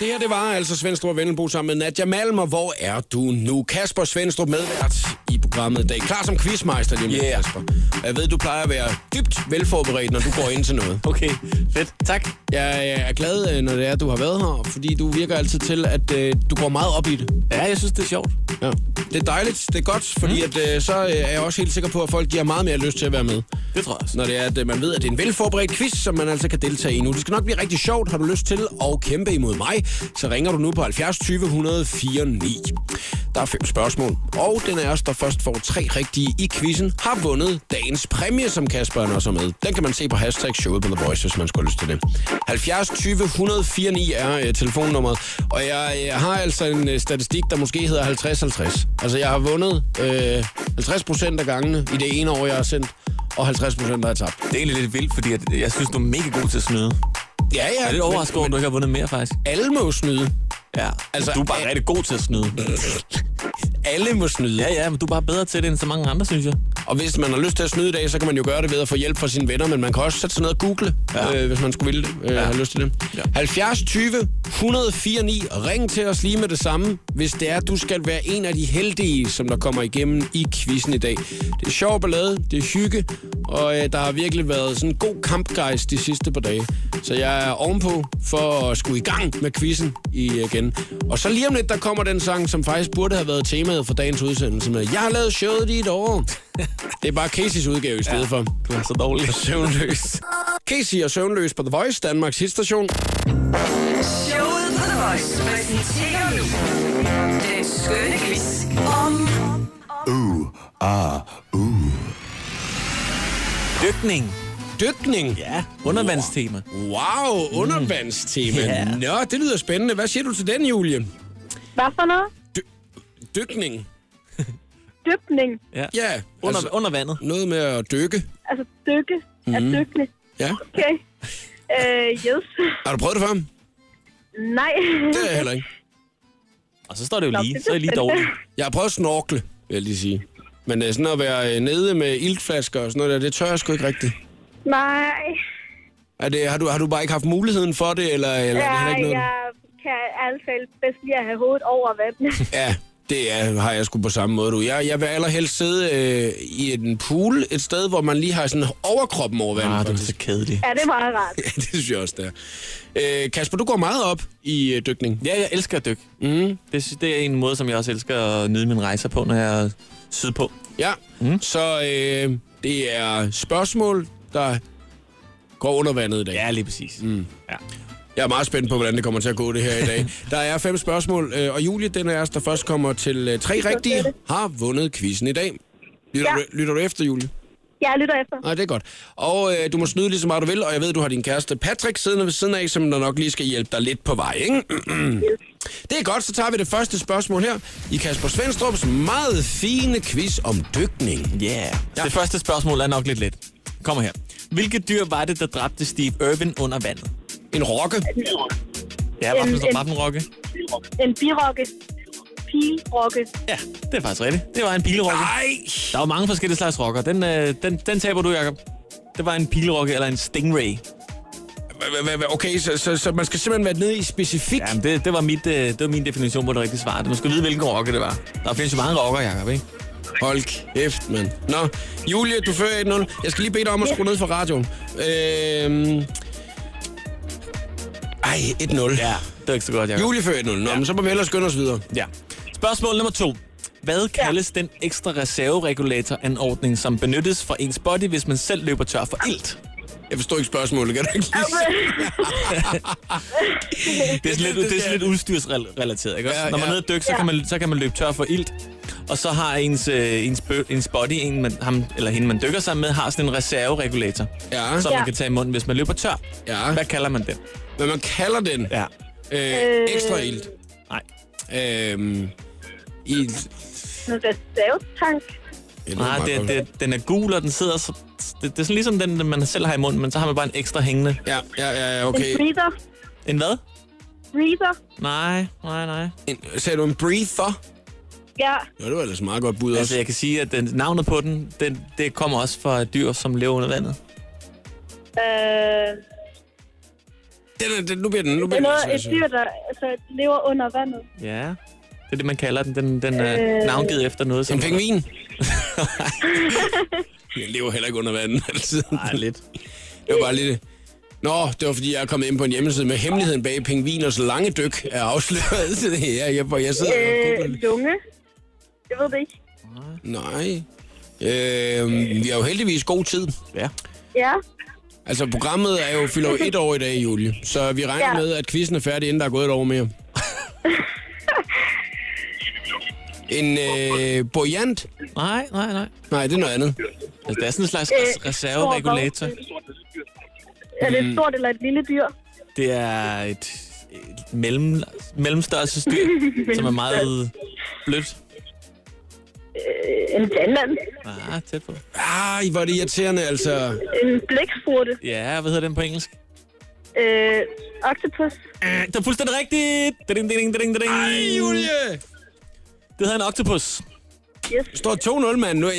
S2: Det her, det var altså Svendstrup og Vendelbo sammen med Nadia Malmer. Hvor er du nu? Kasper Svendstrup medvært i programmet i dag. Klar som quizmeister lige om lidt,
S3: Yeah.
S2: Kasper. Og Jeg ved, du plejer at være dybt velforberedt, når du går ind til noget.
S3: Okay, fedt. Tak.
S2: Jeg er glad, øh, når det er, at du har været her, fordi du virker altid til, at øh, du går meget op i det.
S3: Ja, jeg synes, det er sjovt.
S2: Ja. Det er dejligt, det er godt, fordi mm. at, øh, så øh, er jeg også helt sikker på, at folk de har meget mere lyst til at være med.
S3: Det tror jeg også.
S2: Når det er, at øh, man ved, at det er en velforberedt quiz, som man altså kan deltage i nu. Det skal nok blive rigtig sjovt. Har du lyst til at kæmpe imod mig, så ringer du nu på 70 20 104 9. Der er fem spørgsmål, og den af os, der først får tre rigtige i quizzen, har vundet dagens præmie, som Kasper han også er med. Den kan man se på hashtag showet på The Voice, hvis man skulle have lyst til det. 70 20 104 9 er øh, telefonnummeret, og jeg, jeg har altså en øh, statistik, der måske hedder 50-50. Altså, jeg har vundet øh, 50 procent af gangene i det ene år, jeg har sendt, og 50 procent har jeg tabt.
S3: Det er egentlig lidt vildt, fordi at jeg synes, du er mega god til at snyde.
S2: Ja, ja.
S3: Jeg er lidt overrasket over, at du ikke har vundet mere, faktisk.
S2: Alle må jo snyde.
S3: Ja,
S2: Altså,
S3: altså, du er bare
S2: øh,
S3: rigtig god til at snyde.
S2: Alle må snyde.
S3: Ja, ja, men du er bare bedre til det end så mange andre, synes jeg.
S2: Og hvis man har lyst til at snyde i dag, så kan man jo gøre det ved at få hjælp fra sine venner, men man kan også sætte sig ned og google, ja.
S3: Ja.
S2: øh, hvis man skulle ville det, øh, ja. have lyst til det. Ja.
S3: Ja.
S2: 70 20 104 9. Ring til os lige med det samme, hvis det er, du skal være en af de heldige, som der kommer igennem i quizzen i dag. Det er sjov ballade, det er hygge, og øh, der har virkelig været sådan en god kampgejst de sidste par dage. Så jeg er ovenpå for at skulle i gang med quizzen øh, igen. Og så lige om lidt, der kommer den sang, som faktisk burde have været temaet for dagens udsendelse med Jeg har lavet showet i et år. Det er bare Casey's udgave i stedet ja. for.
S3: Du er så dårlig.
S2: Søvnløs. Casey og Søvnløs på The Voice, Danmarks hitstation.
S1: Showet på The Voice præsenterer nu den skønne quiz om...
S3: Dykning.
S2: Dykning.
S3: Ja, undervandstema.
S2: Wow, undervandstema.
S3: Mm. Ja.
S2: Yeah. Nå, det lyder spændende. Hvad siger du til den, Julie?
S5: Hvad for noget?
S2: Dykning.
S5: Dybning.
S3: Ja.
S2: Ja,
S3: Under,
S2: altså,
S3: under vandet.
S2: noget med at dykke.
S5: Altså dykke. Mm. At dykke.
S2: Ja.
S5: Okay. Øh, yes.
S2: Har du prøvet det før? Det
S5: Nej.
S2: har jeg heller ikke.
S3: Og så står det jo
S5: Nå,
S3: lige.
S5: det
S3: Så er jeg lige dårlig.
S2: Jeg har prøvet at snorkle, vil jeg lige sige. Men øh, sådan at være øh, nede med iltflasker og sådan noget der, det tør jeg sgu ikke rigtigt.
S5: Nej.
S2: Er det, har, du, har du bare ikke haft muligheden for det, eller, eller er det
S5: Ja,
S2: heller ikke noget?
S5: jeg kan i hvert fald bedst lige at have hovedet over vandet.
S2: Ja, det er, har jeg sgu på samme måde, du. Jeg, jeg vil allerhelst sidde øh, i en pool et sted, hvor man lige har sådan overkroppen over vandet,
S3: Ah,
S2: ah,
S3: du er så
S2: faktisk.
S3: kedelig.
S5: Ja, det er meget rart.
S2: Ja, det synes jeg også, det er. Øh, Kasper, du går meget op i øh, dykning.
S3: Ja, jeg elsker at dykke. Mm. Det, sy- det er en måde, som jeg også elsker at nyde mine rejser på, når jeg er sydpå.
S2: Ja, mm. så øh, det er spørgsmål, der går under vandet i dag.
S3: Ja, lige præcis. Mm. Ja.
S2: Jeg er meget spændt på, hvordan det kommer til at gå det her i dag. Der er fem spørgsmål, øh, og Julie, den af os, der først kommer til øh, tre rigtige, har vundet quizzen i dag. Lytter,
S5: Ja.
S2: du, lytter du efter, Julie?
S5: Jeg lytter efter.
S2: Nej, det er godt. Og øh, du må snyde lige så meget du vil, og jeg ved, du har din kæreste Patrick siddende ved siden af, som der nok lige skal hjælpe dig lidt på vej, ikke? det er godt, så tager vi det første spørgsmål her i Kasper Svendstrup's meget fine quiz om dykning.
S3: Yeah. Ja. Det første spørgsmål er nok lidt let. Kommer her. Hvilke dyr var det, der dræbte Steve Irwin under vandet?
S2: En rokke,
S3: Ja, var
S5: En- en-
S3: det en rokke?
S5: En birokke. Pilrokke.
S3: Ja, det er faktisk rigtigt. Ah! Det var en pilrokke. Nej! Der var mange forskellige slags rokker. Den, øh, den, den taber du, Jacob. Det var en pilrokke eller en stingray.
S2: Hva- hva- hva- Okay, så, så, så man skal simpelthen være nede i specifikt.
S3: Jamen, det, det, var mit, øh, det var min definition på det rigtige svar. Du skal vide, hvilken rokke det var. Der findes jo mange rokker, Jacob, ikke?
S2: Hold kæft, mand. Nå, Julie, du fører 1-0. Jeg skal lige bede dig om at skrue ned for radioen. Øhm... Ej, 1-0. Ja.
S3: Det var ikke så godt, Jacob.
S2: Julie fører 1-0. Nå, men så må vi ellers skynde os videre.
S3: Ja. Spørgsmål nummer to. Hvad kaldes den ekstra reserveregulatoranordning, som benyttes for ens body, hvis man selv løber tør for ilt?
S2: Jeg forstår ikke spørgsmålet, kan du ikke lige sige?
S3: Det er sådan lidt, det er sådan lidt udstyrsrelateret, ikke også?
S2: Ja,
S3: Når man
S2: ja.
S3: er nede og dykke, så, kan man, så kan man løbe tør for ilt. Og så har ens, øh, ens, bø, ens body, en man, ham, eller hende man dykker sammen med, har sådan en reserveregulator,
S2: Ja.
S3: som man
S5: Ja.
S3: kan tage i munden, hvis man løber tør.
S2: Ja.
S3: Hvad kalder man den?
S2: Hvad man kalder den?
S3: Ja.
S2: Øh, ekstra ilt.
S3: Nej.
S2: Øhm, ilt.
S5: En reservetank.
S2: Ja, lyder
S3: Nej,
S2: meget
S3: Ah, det,
S2: godt.
S3: det, den er gul, og den sidder så... Det, det er sådan ligesom den, man selv har i munden, men så har man bare en ekstra hængende.
S2: Ja, ja, ja, ja,
S5: En
S2: okay.
S5: breather.
S3: En hvad?
S5: Breather.
S3: Nej, nej, nej.
S2: En, sagde du en breather?
S5: Ja.
S2: Jo, det var ellers meget godt bud
S3: Altså,
S2: også.
S3: jeg kan sige, at den, navnet på den, den, det kommer også fra et dyr, som lever under vandet.
S5: Øh,
S2: Den, er- den, nu bliver den, nu
S5: det
S2: bliver
S5: er noget,
S2: den. altså-
S5: et dyr, der altså, lever under vandet.
S3: Ja. Det er det, man kalder den. Den, den er navngivet efter noget.
S2: En pingvin? jeg lever heller ikke under vandet altid.
S3: Nej, lidt.
S2: Det var bare lidt... Nå, det var fordi, jeg er kommet ind på en hjemmeside med hemmeligheden bag pingviners lange dyk er afsløret. Så det her, jeg, jeg sidder og googler
S5: Øh,
S2: lidt.
S5: lunge. Jeg ved det ikke.
S2: Nej. Øh, vi har jo heldigvis god tid.
S3: Ja.
S5: Ja,
S2: Altså, programmet er jo, fylder jo et år i dag, Julie. Så vi regner
S5: Ja.
S2: med, at quizzen er færdig, inden der er gået et år mere. en øh, bojant?
S3: Nej, nej, nej.
S2: Nej, det er noget andet.
S3: Altså, der er sådan en slags
S5: Øh,
S3: res- reserveregulator. Mm.
S5: er det et stort eller et lille dyr?
S3: Det er et, et mellem, mellemstørrelsesdyr, som er meget blødt.
S5: Øh, en vandmand?
S3: Ah, tæt på.
S2: Ej, hvor er det irriterende, altså.
S5: En blæksprutte?
S3: Ja, hvad hedder den på engelsk?
S5: Øh, octopus?
S3: Det er fuldstændig rigtigt! Ding, ding, ding, ding, ding.
S2: Ej, Julie!
S3: Det hedder en octopus.
S5: Yes.
S2: Står 2-0, mand. Nu,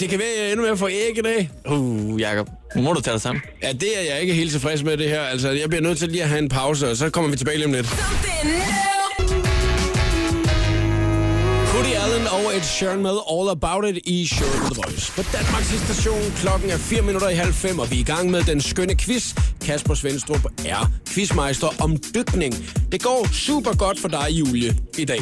S2: det kan være, at jeg ender med at få æg i dag.
S3: Uh, Jacob. Nu må du tage dig sammen.
S2: Ja, det er jeg ikke helt tilfreds med, det her. Altså, jeg bliver nødt til lige at have en pause, og så kommer vi tilbage lige om lidt.
S1: Something new.
S2: Woody Allen og Ed Sheeran med All About It i showet på The Voice. På Danmarks station klokken er 4 minutter i halv fem, og vi er i gang med den skønne quiz. Kasper Svendstrup er quizmeister om dykning. Det går super godt for dig, Julie, i dag.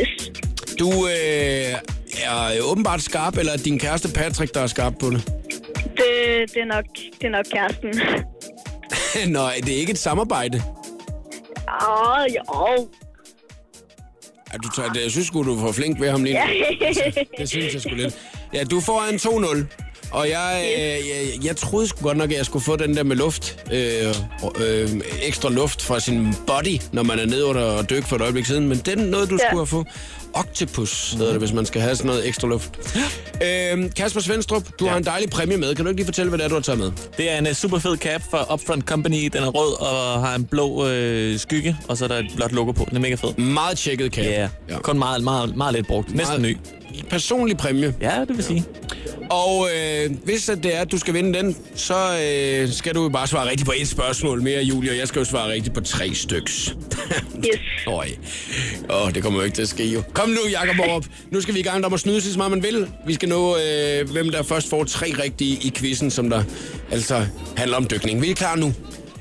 S5: yes.
S2: Du øh, er åbenbart skarp, eller er det din kæreste Patrick, der er skarp på det?
S5: Det, det, er nok, det er nok kæresten.
S2: Nå, det er ikke et samarbejde.
S5: Åh, oh, jo.
S2: Ja, Du tager, jeg synes sgu, du er for flink ved ham lige nu.
S3: Altså,
S2: Det synes jeg sgu lidt. Ja, du får en 2-0. Og jeg, øh, jeg, jeg troede sgu godt nok, at jeg skulle få den der med luft. Øh, øh, ekstra luft fra sin body, når man er nede under og dykke for et øjeblik siden. Men den noget, du ja.
S5: Ja.
S2: skulle have fået. Octopus hedder det, hvis man skal have sådan noget ekstra luft. Øh, Kasper Svendstrup, du ja. har en dejlig præmie med. Kan du ikke lige fortælle, hvad det er, du har taget med?
S3: Det er en uh, super fed cap fra Upfront Company. Den er rød og har en blå øh, skygge, og så er der et blåt logo på. Den er mega fed.
S2: Meget tjekket, kan
S3: Ja,
S2: ja.
S3: kun meget, meget, meget lidt brugt. Næsten ny.
S2: Personlig præmie.
S3: Ja, det vil sige.
S2: Og øh, hvis at det er, at du skal vinde den, så øh, skal du jo bare svare rigtigt på et spørgsmål mere, Julie, og jeg skal jo svare rigtigt på tre styks.
S5: Yes.
S2: Øj. Åh, det kommer jo ikke til at ske, jo. Kom nu, Jacob op. Nu skal vi i gang, der må snyde sig så meget, man vil. Vi skal nå, øh, hvem der først får tre rigtige i quizzen, som der altså handler om dykning. Vi er klar nu.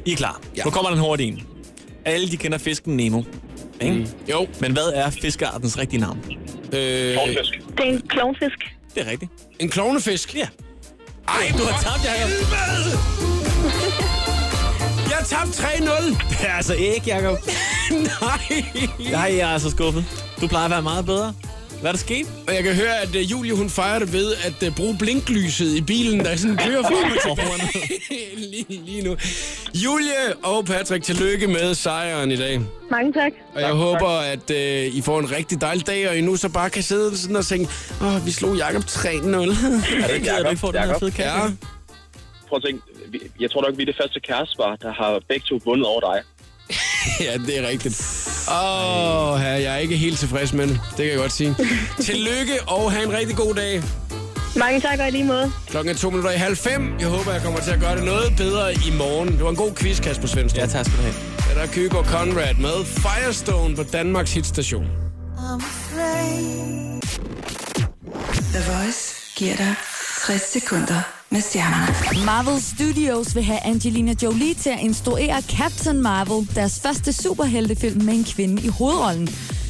S3: I er klar.
S2: Ja.
S3: Ja. Nu kommer den hurtige en. Alle de kender fisken Nemo. Ikke? Mm.
S2: Jo.
S3: Men hvad er fiskeartens rigtige navn?
S2: Øh,
S5: Det er en klovnfisk.
S3: Det er rigtigt.
S2: en klovnefisk. Ja. Ej,
S3: Du har tabt, Jacob.
S2: Helvede! Jeg tabte 3-0.
S3: Det er altså ikke, Jacob.
S2: Nej.
S3: Nej, jeg er så skuffet. Du plejer at være meget bedre. Hvad er der sket?
S2: Og jeg kan høre, at øh, Julie hun fejrer det ved at øh, bruge blinklyset i bilen, der sådan kører frem og tilbage lige, lige nu. Julie og Patrick, tillykke med sejren i dag.
S5: Mange tak.
S2: Og jeg håber, at øh, I får en rigtig dejlig dag, og I nu så bare kan sidde sådan og tænke, åh, oh, vi slog Jakob 3-0.
S3: Er det ikke, at du
S6: Jacob?
S3: ikke får den her
S6: Jacob?
S3: fede kage?
S2: ja,
S6: Prøv at tænke, vi- jeg tror nok, vi er det første kærestepar, der har begge to vundet over dig.
S2: ja, det er rigtigt. Åh, oh, jeg er ikke helt tilfreds med det. Det kan jeg godt sige. Tillykke, og have en rigtig god dag.
S5: Mange tak og i lige måde.
S2: Klokken er to minutter i halv fem. Jeg håber, jeg kommer til at gøre det noget bedre i morgen. Det var en god quiz, Kasper Svendstrup.
S3: Ja, tak skal du have.
S2: er der Kygo Conrad med Firestone på Danmarks hitstation.
S7: The Voice giver dig 60 sekunder med stjernerne.
S8: Marvel Studios vil have Angelina Jolie til at instruere Captain Marvel, deres første superheltefilm med en kvinde i hovedrollen.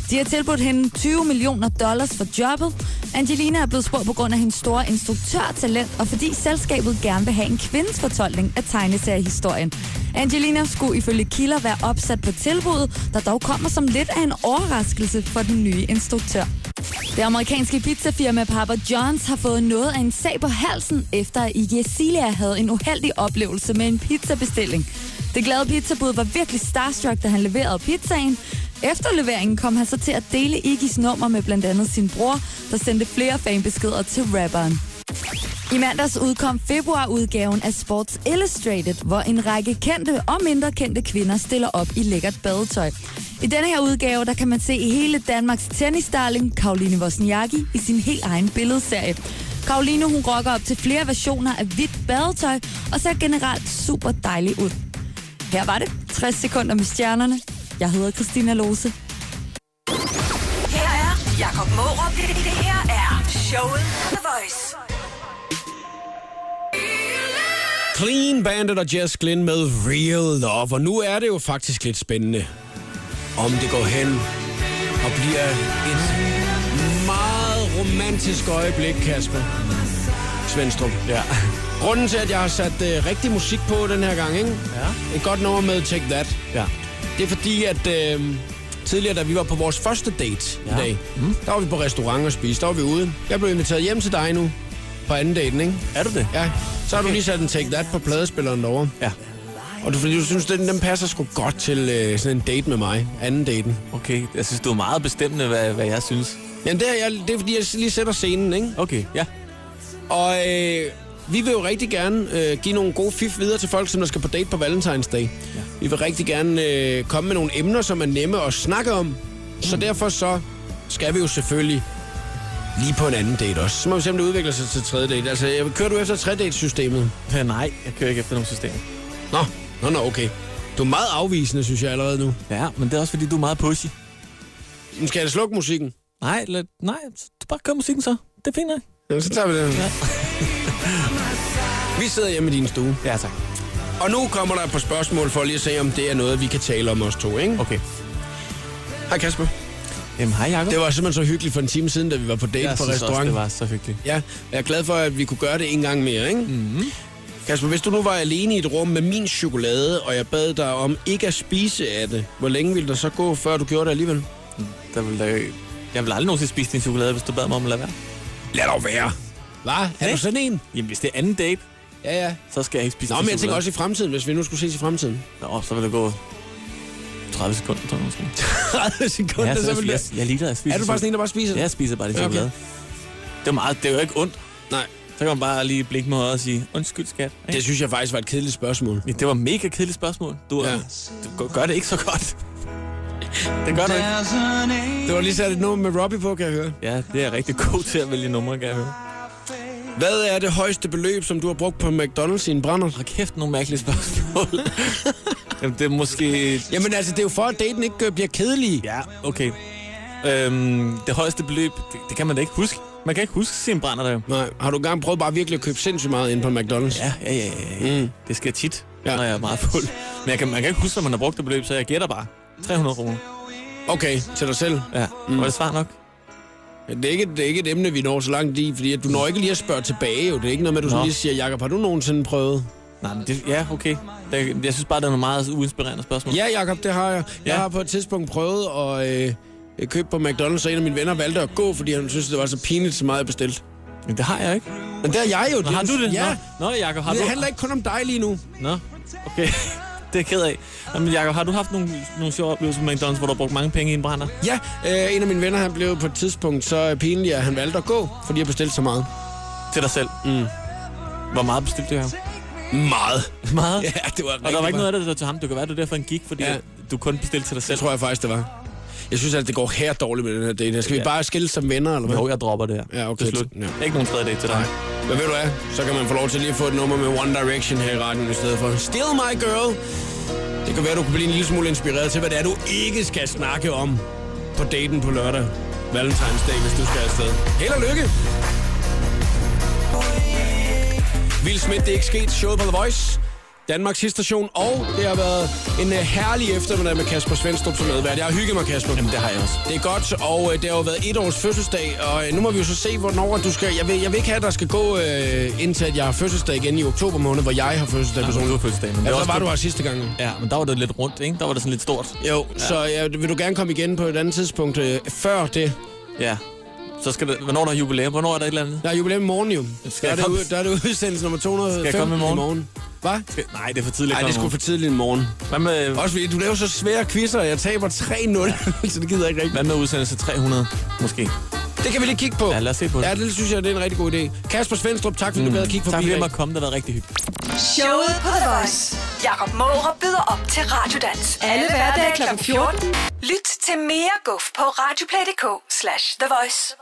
S8: De har tilbudt hende 20 millioner dollars for jobbet. Angelina er blevet spurgt på grund af hendes store instruktørtalent, og fordi selskabet gerne vil have en kvindes fortolkning af tegneseriehistorien. Angelina skulle ifølge kilder være opsat på tilbuddet, der dog kommer som lidt af en overraskelse for den nye instruktør. Det amerikanske pizzafirma Papa John's har fået noget af en sag på halsen, efter at Iggy Celia havde en uheldig oplevelse med en pizzabestilling. Det glade pizzabud var virkelig starstruck, da han leverede pizzaen. Efter leveringen kom han så til at dele Iggy's nummer med blandt andet sin bror, der sendte flere fanbeskeder til rapperen. I mandags udkom februarudgaven af Sports Illustrated, hvor en række kendte og mindre kendte kvinder stiller op i lækkert badetøj. I denne her udgave, der kan man se hele Danmarks tennisdarling Karoline Wozniacki i sin helt egen billedserie. Karoline, hun rocker op til flere versioner af hvidt badetøj og ser generelt super dejlig ud. Her var det 60 sekunder med stjernerne. Jeg hedder Christina Lose.
S1: Morup, det, det her er showet på The Voice.
S2: Clean Bandit og Jess Glynn med Real Love. Og nu er det jo faktisk lidt spændende, om det går hen og bliver et meget romantisk øjeblik, Kasper. Svendstrup.
S3: Ja.
S2: Grunden til, at jeg har sat øh, rigtig musik på den her gang, ikke?
S3: Ja.
S2: Et godt nummer med Take That.
S3: Ja.
S2: Det er fordi, at øh, tidligere, da vi var på vores første date ja. i dag, mm. der var vi på restaurant og spise, der var vi ude. Jeg blev inviteret hjem til dig nu på anden daten, ikke?
S3: Er du det?
S2: Ja, så har du lige sat en Take That på pladespilleren derovre.
S3: Ja.
S2: Og du, fordi du synes, den, den passer sgu godt til øh, sådan en date med mig. Anden daten.
S3: Okay, jeg synes, du er meget bestemmende, hvad, hvad jeg synes.
S2: Jamen, det er, jeg, det er fordi, jeg lige sætter scenen, ikke?
S3: Okay, ja.
S2: Og øh, vi vil jo rigtig gerne øh, give nogle gode fif videre til folk, som der skal på date på Valentinsdag. Ja. Vi vil rigtig gerne øh, komme med nogle emner, som er nemme at snakke om. Så derfor så skal vi jo selvfølgelig lige på en anden date også. Så må vi se, om det udvikler sig til tredje date. Altså, jeg- kører du efter tre-date-systemet?
S3: ja. Nej, jeg kører ikke efter nogen system.
S2: Nå, nå, nå, okay. Du er meget afvisende, synes jeg allerede nu.
S3: Ja, men det er også, fordi du er meget pushy.
S2: Nu skal jeg da slukke musikken.
S3: Nej, lad, nej, du bare kør musikken så. Det finder jeg.
S2: Jamen, så tager vi det. Ja. vi sidder hjemme i din stue.
S3: Ja, tak.
S2: Og nu kommer der et par spørgsmål for lige at se, om det er noget, vi kan tale om os to, ikke?
S3: Okay.
S2: Hej Kasper.
S3: Jamen, hej Jacob.
S2: Det var simpelthen så hyggeligt for en time siden, da vi var på date
S3: jeg
S2: på
S3: synes
S2: restaurant.
S3: Også, det var så hyggeligt.
S2: Ja, og jeg er glad for, at vi kunne gøre det en gang mere, ikke? Mm-hmm.
S3: Mhm.
S2: Kasper, hvis du nu var alene i et rum med min chokolade, og jeg bad dig om ikke at spise af det, hvor længe ville der så gå, før du gjorde det alligevel?
S3: Der ville der jo... Jeg ville aldrig nogensinde spise din chokolade, hvis du bad mig om at lade være.
S2: Lad dog være. Hvad? Er
S3: Hæ?
S2: du sådan en?
S3: Jamen, hvis det er anden date,
S2: Ja, ja.
S3: så skal Hmm. jeg ikke spise
S2: Nå,
S3: din
S2: men jeg tænker
S3: chokolade.
S2: også i fremtiden, hvis vi nu skulle ses i fremtiden.
S3: Nå, så vil det gå 30 sekunder, tror jeg måske.
S2: 30 sekunder,
S3: Ja, så
S2: så
S3: jeg,
S2: vil
S3: jeg,
S2: det...
S3: jeg ligeglad, jeg spiser
S2: Er du faktisk en, der bare spiser?
S3: chokolade. Ja, jeg spiser bare din
S2: Ja, okay.
S3: chokolade. Det er, meget, det er jo ikke ondt.
S2: Nej,
S3: Så kan man bare lige blinke med øjet og sige, undskyld skat. ikke?
S2: det synes jeg faktisk var et kedeligt spørgsmål.
S3: Ja, Det var mega kedeligt spørgsmål. Du,
S2: Ja.
S3: ja. du gør det ikke så godt. Det gør du ikke.
S2: Det var lige sat et nummer med Robbie på, kan jeg høre.
S3: Ja, det er jeg rigtig god til at vælge numre, kan jeg høre.
S2: Hvad er det højeste beløb, som du har brugt på McDonald's i en brænder?
S3: Hold kæft, nogle mærkelige spørgsmål. Jamen, det er måske...
S2: Jamen altså, det er jo for, at daten ikke øh, bliver kedelig.
S3: Ja, okay. Øhm, det højeste beløb, det, det kan man da ikke huske. Man kan ikke huske sin brænder, der jo.
S2: Nej, har du engang prøvet bare virkelig at købe sindssygt meget ind på McDonald's?
S3: Ja, ja, ja, ja. Mm. Det sker tit,
S2: Ja.
S3: ja. når jeg er meget fuld. Men jeg kan, man kan ikke huske, når man har brugt det beløb, så jeg gætter bare. 300 kroner.
S2: Okay, til dig selv.
S3: Ja, mm. var det svar nok?
S2: Det er, ikke, det er ikke et emne, vi når så langt i, fordi at du når ikke lige at spørge tilbage. Jo. Det er ikke noget med, at du sådan
S3: Nå.
S2: lige siger, Jakob, har du nogensinde prøvet?
S3: Nej, men det, ja, okay. Jeg, jeg synes bare, det er nogle meget uinspirerende spørgsmål.
S2: Ja, Jakob, det har jeg. Jeg
S3: Ja.
S2: har på et tidspunkt prøvet at øh, købe på McDonald's, og en af mine venner valgte at gå, fordi han syntes, det var så pinligt, så meget jeg bestilt.
S3: Men det har jeg ikke.
S2: Men det er jeg jo.
S3: Nå, har
S2: er jo-
S3: du det?
S2: Ja.
S3: Nå, Nå Jacob, har
S2: Det
S3: du...
S2: handler ikke kun om dig lige nu.
S3: Nå, okay. det er jeg ked af. Nå, men Jacob, har du haft nogle, nogle sjove oplevelser med McDonald's, hvor du har brugt mange penge i en brænder?
S2: Ja, øh, en af mine venner, han blev på et tidspunkt så øh, pinlig, at han valgte at gå, fordi jeg bestilte så meget.
S3: Til dig selv? Mm. Hvor meget bestilte du ham?
S2: Meget.
S3: Meget?
S2: Ja, det var rigtig
S3: Og der var ikke
S2: meget.
S3: noget af det, der var til ham. Det kan være, det var derfor, han gik, fordi
S2: Ja.
S3: ja. du kun bestilte til dig selv.
S2: Det tror jeg faktisk, det var. Jeg synes, at det går her dårligt med den her date. Skal vi
S3: Ja.
S2: bare skille som venner, eller hvad?
S3: Jo, jeg dropper det her.
S2: Ja, okay.
S3: Til slut.
S2: Ja.
S3: Ja. Ikke nogen tredje date til dig.
S2: Nej. Men ved du hvad? Så kan man få lov til lige at få et nummer med One Direction her i radioen i stedet for. Still my girl. Det kan være, du kan blive en lille smule inspireret til, hvad det er, du ikke skal snakke om på daten på lørdag. Valentinsdag, hvis du skal afsted. Held og lykke! Vil Smith, det er ikke sket. Showet på The Voice. Danmarks station, og det har været en øh, herlig eftermiddag med Kasper Svendstrup som medvært. Jeg har hygget mig, Kasper.
S3: Jamen, det har jeg også.
S2: Det er godt, og øh, det har jo været et års fødselsdag, og øh, nu må vi jo så se, hvornår at du skal... Jeg vil, jeg vil ikke have, at der skal gå øh, indtil, at jeg har fødselsdag igen i oktober måned, hvor jeg har fødselsdag
S3: Personlig
S2: personligt.
S3: fødselsdag. Men
S2: Ja,
S3: det
S2: så var
S3: også
S2: du her sidste gang. jo.
S3: Ja, men der var det lidt rundt, ikke? Der var det sådan lidt stort.
S2: Jo, ja. så øh, vil du gerne komme igen på et andet tidspunkt øh, før det?
S3: Ja. Så skal det, hvornår er der er jubilæum? Hvornår er der et eller andet?
S2: Der er jubilæum i morgen jo.
S3: Skal
S2: Der er,
S3: jeg
S2: det,
S3: komme-
S2: ud- der er det udsendelse nummer 215
S3: jeg komme i morgen?
S2: Hvad?
S3: Skal- Nej, det er for tidligt.
S2: Nej, det er sgu for tidligt i morgen.
S3: Hvad med,
S2: Også fordi du laver så svære quizzer, og jeg taber 3-0, så det gider jeg ikke rigtigt.
S3: hvad med udsendelse 300, måske?
S2: Det kan vi lige kigge på.
S3: Ja, lad os se på det.
S2: Ja, det synes jeg, det er en rigtig god idé. Kasper Svendstrup, tak fordi mm. du gad at kigge forbi.
S3: Tak fordi jeg
S2: i dag.
S3: måtte komme, det har været rigtig hyggeligt.
S1: Showet på The Voice. Jakob Måre byder op til Radiodans. Alle hverdage kl. 14. Lyt til mere guf på radioplay.dk slash The Voice.